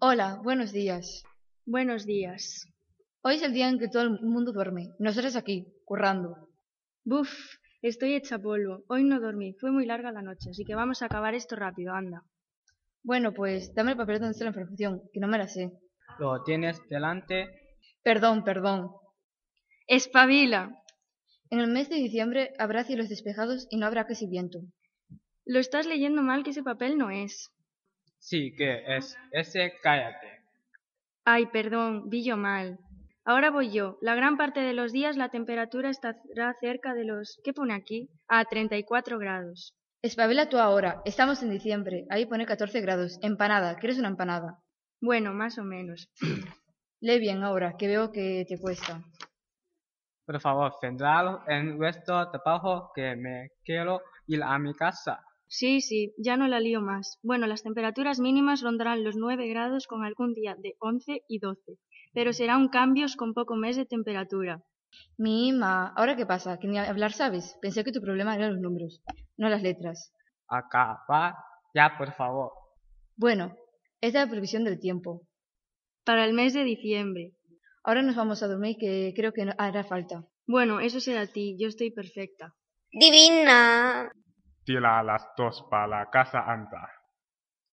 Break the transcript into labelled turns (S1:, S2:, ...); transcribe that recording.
S1: Hola, buenos días.
S2: Buenos días.
S1: Hoy es el día en que todo el mundo duerme. Nosotros aquí, currando.
S2: Buf, estoy hecha polvo. Hoy no dormí, fue muy larga la noche, así que vamos a acabar esto rápido, anda.
S1: Bueno, pues dame el papel donde está la información, que no me la sé.
S3: Lo tienes delante.
S1: Perdón, perdón.
S2: ¡Espabila!
S1: En el mes de diciembre habrá cielos despejados y no habrá casi viento.
S2: Lo estás leyendo mal que ese papel no es.
S3: Sí, que es ese cállate.
S2: Ay, perdón, vi yo mal. Ahora voy yo. La gran parte de los días la temperatura estará cerca de los... ¿Qué pone aquí? A 34 grados.
S1: Espabila tú ahora. Estamos en diciembre. Ahí pone 14 grados. Empanada. ¿Quieres una empanada?
S2: Bueno, más o menos.
S1: Lee bien ahora, que veo que te cuesta.
S3: Por favor, centrados en vuestro trabajo que me quiero ir a mi casa.
S2: Sí, sí, ya no la lío más. Bueno, las temperaturas mínimas rondarán los 9 grados con algún día de 11 y 12, pero serán cambios con poco mes de temperatura.
S1: Mi ma, ¿ahora qué pasa? Que ni hablar sabes. Pensé que tu problema eran los números, no las letras.
S3: Acabar ya, por favor.
S1: Bueno, esta es la previsión del tiempo.
S2: Para el mes de diciembre.
S1: Ahora nos vamos a dormir que creo que no hará falta.
S2: Bueno, eso será a ti, yo estoy perfecta.
S4: Divina.
S5: Tira a las dos para la casa anda.